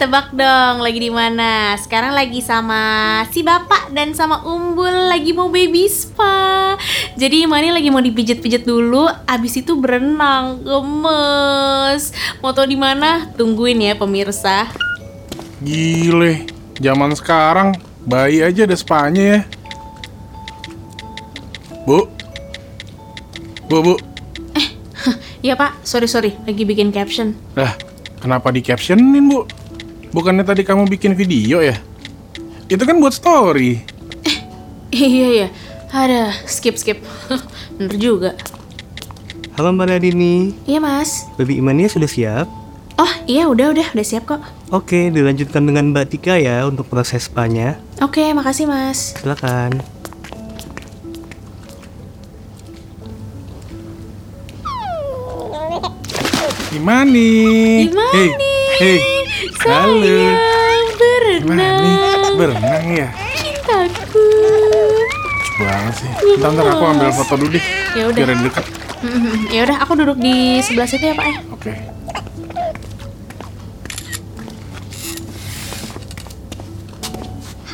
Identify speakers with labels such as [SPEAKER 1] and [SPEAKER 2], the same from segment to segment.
[SPEAKER 1] tebak dong lagi di mana? Sekarang lagi sama si bapak dan sama Umbul lagi mau baby spa. Jadi Mani lagi mau dipijit-pijit dulu, abis itu berenang, gemes. Mau tau di mana? Tungguin ya pemirsa.
[SPEAKER 2] Gile, zaman sekarang bayi aja ada spanya ya. Bu, bu, bu,
[SPEAKER 1] Iya pak, sorry sorry, lagi bikin caption.
[SPEAKER 2] lah kenapa di captionin bu? Bukannya tadi kamu bikin video ya? Itu kan buat story.
[SPEAKER 1] iya iya, ada skip skip. Bener juga.
[SPEAKER 3] Halo Mbak Nadini,
[SPEAKER 1] Iya mas.
[SPEAKER 3] Baby Imania sudah siap?
[SPEAKER 1] Oh iya udah udah udah siap kok.
[SPEAKER 3] Oke, dilanjutkan dengan Mbak Tika ya untuk proses spanya.
[SPEAKER 1] Oke makasih mas.
[SPEAKER 3] Silakan.
[SPEAKER 2] Gimana? Gimana? Hey, hey, halo.
[SPEAKER 1] Sayang
[SPEAKER 2] Gimana?
[SPEAKER 1] berenang
[SPEAKER 2] Berenang ya?
[SPEAKER 1] cintaku.
[SPEAKER 2] Lucu banget sih. Bentar, bentar, aku ambil foto dulu deh.
[SPEAKER 1] Iya, Ya udah.
[SPEAKER 2] Biar ada dekat.
[SPEAKER 1] Mm-mm. ya udah aku duduk di sebelah situ ya pak ya.
[SPEAKER 2] Oke.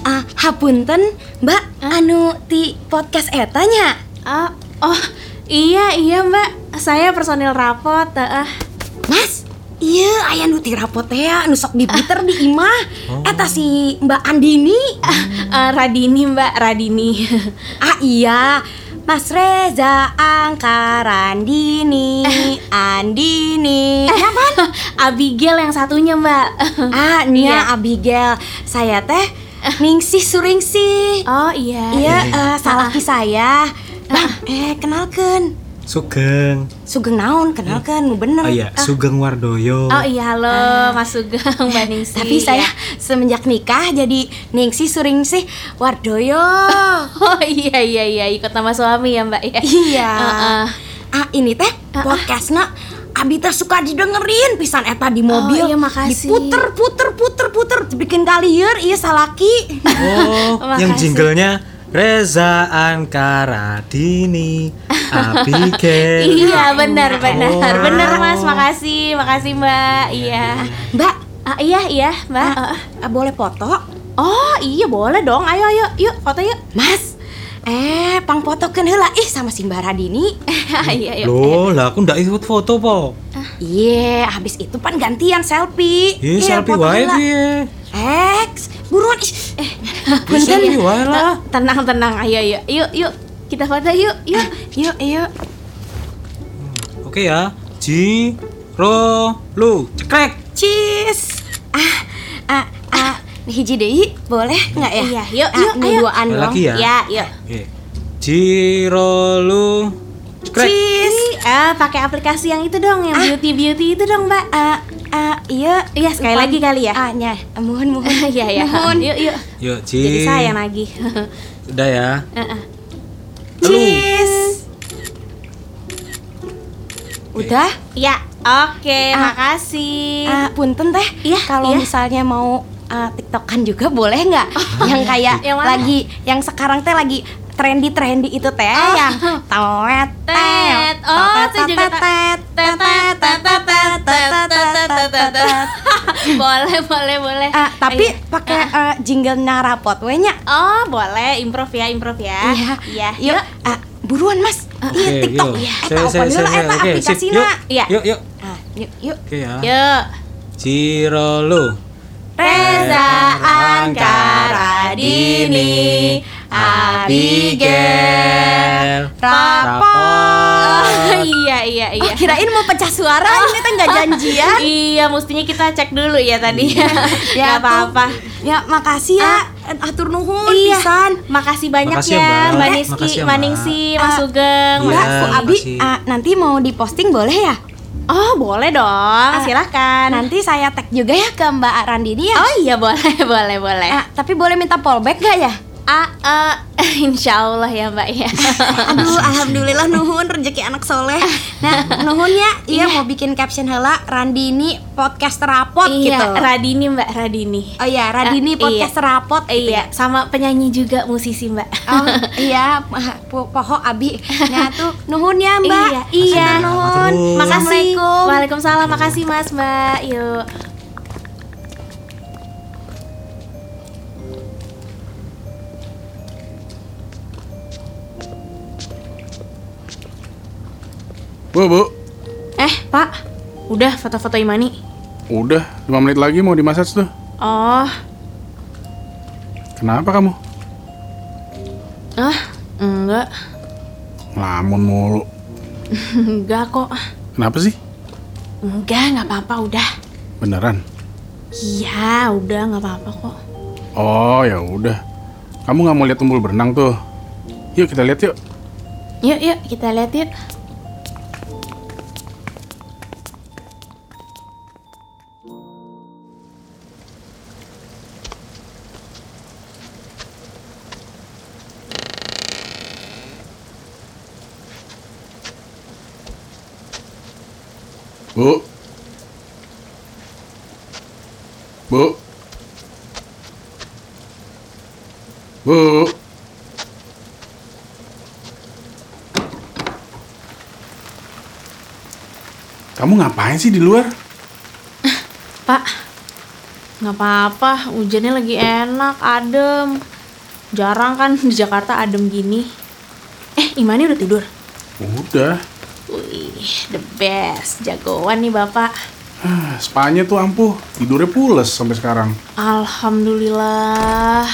[SPEAKER 4] Ah, hapunten, Mbak, anu ti podcast etanya.
[SPEAKER 1] Ah, oh iya iya mbak, saya personil rapot. ah.
[SPEAKER 4] Mas, iya aya nu ti rapot teh anu sok dibiter di imah. Eta si Mbak Andini.
[SPEAKER 1] Ah, ah, Radini mbak Radini.
[SPEAKER 4] Ah iya, Mas Reza Angkarandini, Andini.
[SPEAKER 1] Abigail yang satunya mbak.
[SPEAKER 4] Ah, Nia Abigail, saya teh Ningsih Suringsi.
[SPEAKER 1] Oh iya.
[SPEAKER 4] Eh. Iya, eh, salah ki saya. Bang, eh kenalkan.
[SPEAKER 3] Sugeng.
[SPEAKER 4] Sugeng naon, kenalkan, nu bener.
[SPEAKER 3] Oh iya,
[SPEAKER 4] Ah.
[SPEAKER 3] Sugeng Wardoyo.
[SPEAKER 1] Oh iya halo Mas Sugeng Mbak Ningsi. Iya.
[SPEAKER 4] Tapi saya semenjak nikah jadi Ningsih Suringsi Wardoyo.
[SPEAKER 1] Oh iya iya iya ikut nama suami ya mbak ya.
[SPEAKER 4] iya.
[SPEAKER 1] Heeh.
[SPEAKER 4] Ah ini teh podcastnya Abi teh suka didengerin pisan eta di mobil.
[SPEAKER 1] iya, makasih.
[SPEAKER 4] Diputer puter puter puter bikin kalier iya salaki.
[SPEAKER 1] Ah.
[SPEAKER 3] Oh, yang
[SPEAKER 1] Makasih.
[SPEAKER 3] jinglenya Reza Ankara Dini Abigail.
[SPEAKER 1] Iya benar benar benar Mas makasih makasih Mbak iya
[SPEAKER 4] Mbak,
[SPEAKER 1] Ah, iya iya Mbak
[SPEAKER 4] ah, ah, boleh foto?
[SPEAKER 1] oh iya boleh dong ayo ayo yuk foto yuk
[SPEAKER 4] Mas. Eh, pang fotokeun heula ih sama si Mbak Radini.
[SPEAKER 1] iya yuk
[SPEAKER 3] Loh, lah aku ndak ikut foto po.
[SPEAKER 4] Iya, habis itu pan gantian selfie.
[SPEAKER 3] Ih,
[SPEAKER 4] Iya,
[SPEAKER 3] selfie
[SPEAKER 4] foto
[SPEAKER 3] wae
[SPEAKER 4] heula.
[SPEAKER 3] piye.
[SPEAKER 4] Eks, buruan ih. Eh,
[SPEAKER 3] Ih, Selfie wae
[SPEAKER 1] Iya. ya.
[SPEAKER 3] lah.
[SPEAKER 1] tenang tenang ayo yuk yuk yuk kita foto yuk yuk
[SPEAKER 4] yuk, yuk.
[SPEAKER 3] Oke ya. Ji ro lu cekrek.
[SPEAKER 4] Cheese. Ah, ah, ah, hiji deui boleh nggak ya?
[SPEAKER 1] Iya, yuk,
[SPEAKER 4] Ah,
[SPEAKER 1] yuk,
[SPEAKER 4] nu
[SPEAKER 1] ayo.
[SPEAKER 4] duaan
[SPEAKER 3] Ada
[SPEAKER 4] dong.
[SPEAKER 3] lagi ya?
[SPEAKER 1] ya yuk
[SPEAKER 3] Oke. Ji ro lu cekrek.
[SPEAKER 4] Cheese.
[SPEAKER 1] ah pakai aplikasi yang itu dong yang beauty beauty itu dong Mbak Eh,
[SPEAKER 4] Ah, ah, iya,
[SPEAKER 1] Iya, sekali lagi kali ya?
[SPEAKER 4] Ah, nya. Ah, Muhun, muhun.
[SPEAKER 1] Iya iya yuk yuk
[SPEAKER 3] Yuk, Ji.
[SPEAKER 1] jadi sayang lagi
[SPEAKER 3] Udah ya.
[SPEAKER 1] Heeh.
[SPEAKER 3] Lu.
[SPEAKER 4] Cheese. Udah?
[SPEAKER 1] ya oke
[SPEAKER 4] Ah.
[SPEAKER 1] makasih
[SPEAKER 4] Ah, punten teh.
[SPEAKER 1] Iya,
[SPEAKER 4] Kalau
[SPEAKER 1] iya.
[SPEAKER 4] misalnya mau ah, TikTokan juga boleh nggak? yang kayak
[SPEAKER 1] Oh. Yang mana?
[SPEAKER 4] lagi yang sekarang teh lagi trendy-trendy itu teh
[SPEAKER 1] Oh.
[SPEAKER 4] yang tawet
[SPEAKER 1] Tet. Oh, saya juga tak- Tet, tet, tet, tet, tet, tet, tet, tet, tet, tet. boleh boleh boleh
[SPEAKER 4] Ah, tapi
[SPEAKER 1] Ayo.
[SPEAKER 4] pakai eh, jingle narapot we nya.
[SPEAKER 1] oh boleh improv ya improv ya iya Ah.
[SPEAKER 4] Yuk, ah, buruan Mas. Iya,
[SPEAKER 3] Oke,
[SPEAKER 4] TikTok.
[SPEAKER 3] yuk.
[SPEAKER 4] Iya,
[SPEAKER 1] eh,
[SPEAKER 3] Saya,
[SPEAKER 4] eta
[SPEAKER 3] saya,
[SPEAKER 4] open
[SPEAKER 3] saya,
[SPEAKER 4] heula
[SPEAKER 3] saya.
[SPEAKER 4] eta
[SPEAKER 3] Oke, sip.
[SPEAKER 4] aplikasina.
[SPEAKER 3] Yuk,
[SPEAKER 1] Iya.
[SPEAKER 3] yuk, yuk.
[SPEAKER 4] Ah, yuk, yuk.
[SPEAKER 3] Oke ya.
[SPEAKER 1] yuk
[SPEAKER 3] Ciro lu.
[SPEAKER 1] Reza Angkara Dini Abigail
[SPEAKER 3] Rapor.
[SPEAKER 1] Oh, iya iya iya Oh.
[SPEAKER 4] Oh, kirain mau pecah suara ini teh nggak janjian.
[SPEAKER 1] iya mestinya kita cek dulu ya tadi
[SPEAKER 4] Ya,
[SPEAKER 1] ya apa-apa Ah.
[SPEAKER 4] Ya, makasih ya. Atur nuhun
[SPEAKER 1] Iya.
[SPEAKER 4] pisan.
[SPEAKER 1] Makasih banyak
[SPEAKER 3] Makasih ya,
[SPEAKER 1] ya
[SPEAKER 3] Mbak.
[SPEAKER 1] Mbak
[SPEAKER 3] Eh,
[SPEAKER 1] Niski,
[SPEAKER 3] makasih ya,
[SPEAKER 1] Mbak
[SPEAKER 3] Mbak.
[SPEAKER 1] Ningsi, Mas
[SPEAKER 4] Ah,
[SPEAKER 1] Sugeng,
[SPEAKER 3] Iya,
[SPEAKER 4] Mbak, Bu Abi,
[SPEAKER 3] makasih.
[SPEAKER 4] ah, nanti mau diposting boleh ya?
[SPEAKER 1] Oh boleh dong,
[SPEAKER 4] Ah,
[SPEAKER 1] silahkan
[SPEAKER 4] Nanti saya tag juga ya ke Mbak Randini ya.
[SPEAKER 1] Iya. Oh iya boleh, boleh, boleh
[SPEAKER 4] Ah, tapi boleh minta fallback gak ya?
[SPEAKER 1] ah, eh, Insya Allah ya mbak ya
[SPEAKER 4] Aduh, alhamdulillah nuhun rezeki anak soleh. Nah, nuhun ya, iya mau bikin caption hela Randini podcast rapot gitu.
[SPEAKER 1] Iya, Radini mbak, Radini
[SPEAKER 4] oh iya,
[SPEAKER 1] Ah,
[SPEAKER 4] Randini
[SPEAKER 1] iya.
[SPEAKER 4] podcast rapot gitu
[SPEAKER 1] Iya,
[SPEAKER 4] ya.
[SPEAKER 1] sama penyanyi juga musisi mbak
[SPEAKER 4] Oh iya, po- poho Abi. Nah tuh, nuhun ya
[SPEAKER 1] Iya,
[SPEAKER 4] Mbak.
[SPEAKER 1] iya
[SPEAKER 3] Makasih, Mbak.
[SPEAKER 1] Nuhun
[SPEAKER 3] Makasih.
[SPEAKER 1] Makasih
[SPEAKER 4] Assalamualaikum.
[SPEAKER 1] Waalaikumsalam, makasih mas mbak Yuk
[SPEAKER 2] Bu, bu.
[SPEAKER 1] Eh, Pak. Udah foto-foto Imani.
[SPEAKER 2] Udah, 5 menit lagi mau dimassage tuh.
[SPEAKER 1] Oh,
[SPEAKER 2] Kenapa kamu?
[SPEAKER 1] ah, enggak.
[SPEAKER 2] Ngelamun mulu.
[SPEAKER 1] Enggak kok.
[SPEAKER 2] Kenapa sih?
[SPEAKER 1] Enggak, nggak apa-apa udah.
[SPEAKER 2] Beneran?
[SPEAKER 1] Iya, udah nggak apa-apa kok.
[SPEAKER 2] Oh, ya udah. Kamu nggak mau lihat umbul berenang tuh? Yuk kita lihat yuk.
[SPEAKER 1] Yuk, yuk, kita lihat yuk.
[SPEAKER 2] Bu. Bu. Bu. Kamu ngapain sih di luar?
[SPEAKER 1] Pak, nggak apa-apa. Hujannya lagi enak, adem. Jarang kan di Jakarta adem gini. Eh, Imani udah tidur.
[SPEAKER 2] Udah.
[SPEAKER 1] Wih, the best. Jagoan nih bapak.
[SPEAKER 2] Ah, Spanya tuh ampuh, tidurnya pules sampai sekarang.
[SPEAKER 1] Alhamdulillah.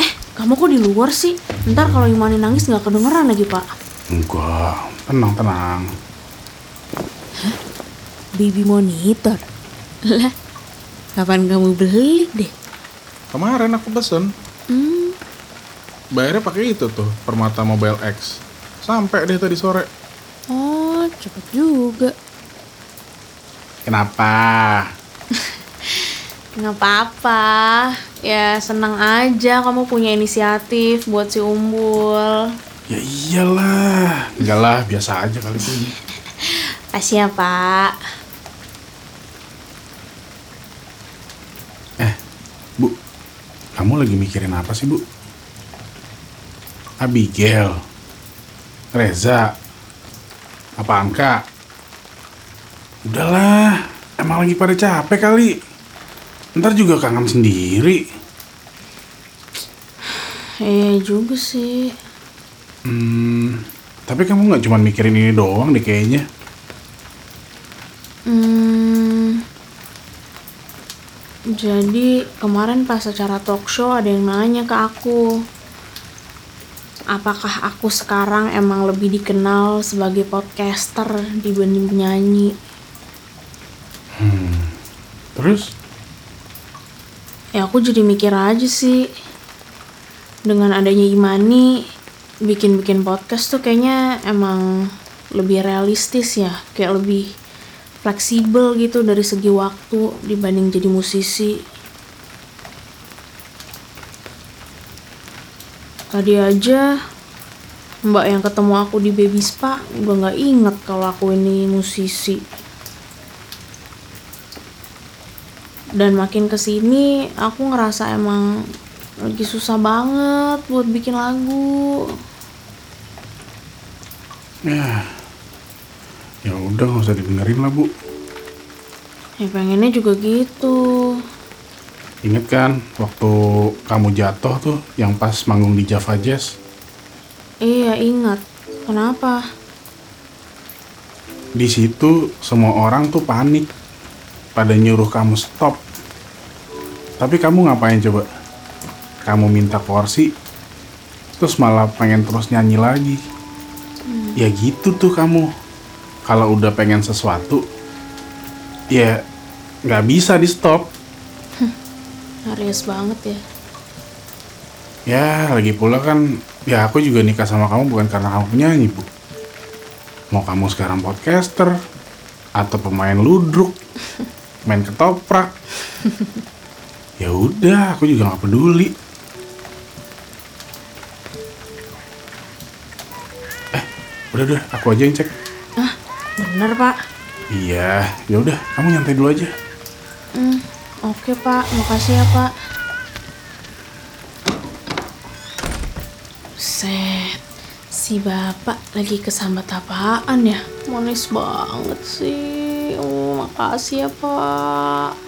[SPEAKER 1] Eh, kamu kok di luar sih? Ntar kalau Imani nangis nggak kedengeran lagi pak.
[SPEAKER 2] Enggak, tenang tenang.
[SPEAKER 1] Baby monitor. Lah, kapan kamu beli deh?
[SPEAKER 2] Kemarin aku pesen,
[SPEAKER 1] Hmm,
[SPEAKER 2] bayarnya pakai itu tuh, Permata Mobile X. Sampai deh tadi sore.
[SPEAKER 1] oh cepet juga.
[SPEAKER 2] Kenapa?
[SPEAKER 1] Nggak apa-apa. Ya senang aja kamu punya inisiatif buat si Umbul.
[SPEAKER 2] Ya iyalah. Enggak lah, biasa aja kali Bu.
[SPEAKER 1] Kasih ya pak.
[SPEAKER 2] Bu, kamu lagi mikirin apa sih, Bu? Abigail. Reza. Apa Angka? Udahlah, emang lagi pada capek kali. Ntar juga kangen sendiri.
[SPEAKER 1] Eh juga sih.
[SPEAKER 2] Hmm, tapi kamu nggak cuma mikirin ini doang deh kayaknya.
[SPEAKER 1] Hmm, jadi kemarin pas acara talk show ada yang nanya ke aku, apakah aku sekarang emang lebih dikenal sebagai podcaster dibanding penyanyi?
[SPEAKER 2] Terus?
[SPEAKER 1] Ya aku jadi mikir aja sih, dengan adanya Imani, bikin-bikin podcast tuh kayaknya emang lebih realistis ya, kayak lebih fleksibel gitu dari segi waktu dibanding jadi musisi. Tadi aja Mbak yang ketemu aku di Baby Spa udah nggak inget kalau aku ini musisi. Dan makin kesini aku ngerasa emang lagi susah banget buat bikin lagu.
[SPEAKER 2] Ya udah nggak usah didengerin lah, Bu.
[SPEAKER 1] Ya pengennya juga gitu.
[SPEAKER 2] Ingat kan waktu kamu jatuh tuh yang pas manggung di Java Jazz?
[SPEAKER 1] Iya ingat. Kenapa?
[SPEAKER 2] Di situ semua orang tuh panik pada nyuruh kamu stop. Tapi kamu ngapain coba? Kamu minta kursi terus malah pengen terus nyanyi lagi. Ya gitu tuh kamu. Kalau udah pengen sesuatu ya nggak bisa di stop.
[SPEAKER 1] Serius banget ya.
[SPEAKER 2] Ya, lagi pula kan, ya aku juga nikah sama kamu bukan karena kamu penyanyi, Bu. Mau kamu sekarang podcaster, atau pemain ludruk, main ketoprak. ya udah, aku juga nggak peduli. Eh, Eh, udah udah, aku aja yang cek.
[SPEAKER 1] Bener pak.
[SPEAKER 2] Iya, ya udah, kamu nyantai dulu aja.
[SPEAKER 1] Hmm, Oke pak, makasih ya pak. Set, si bapak lagi kesambat apaan ya? Manis banget sih. Oh, makasih ya pak.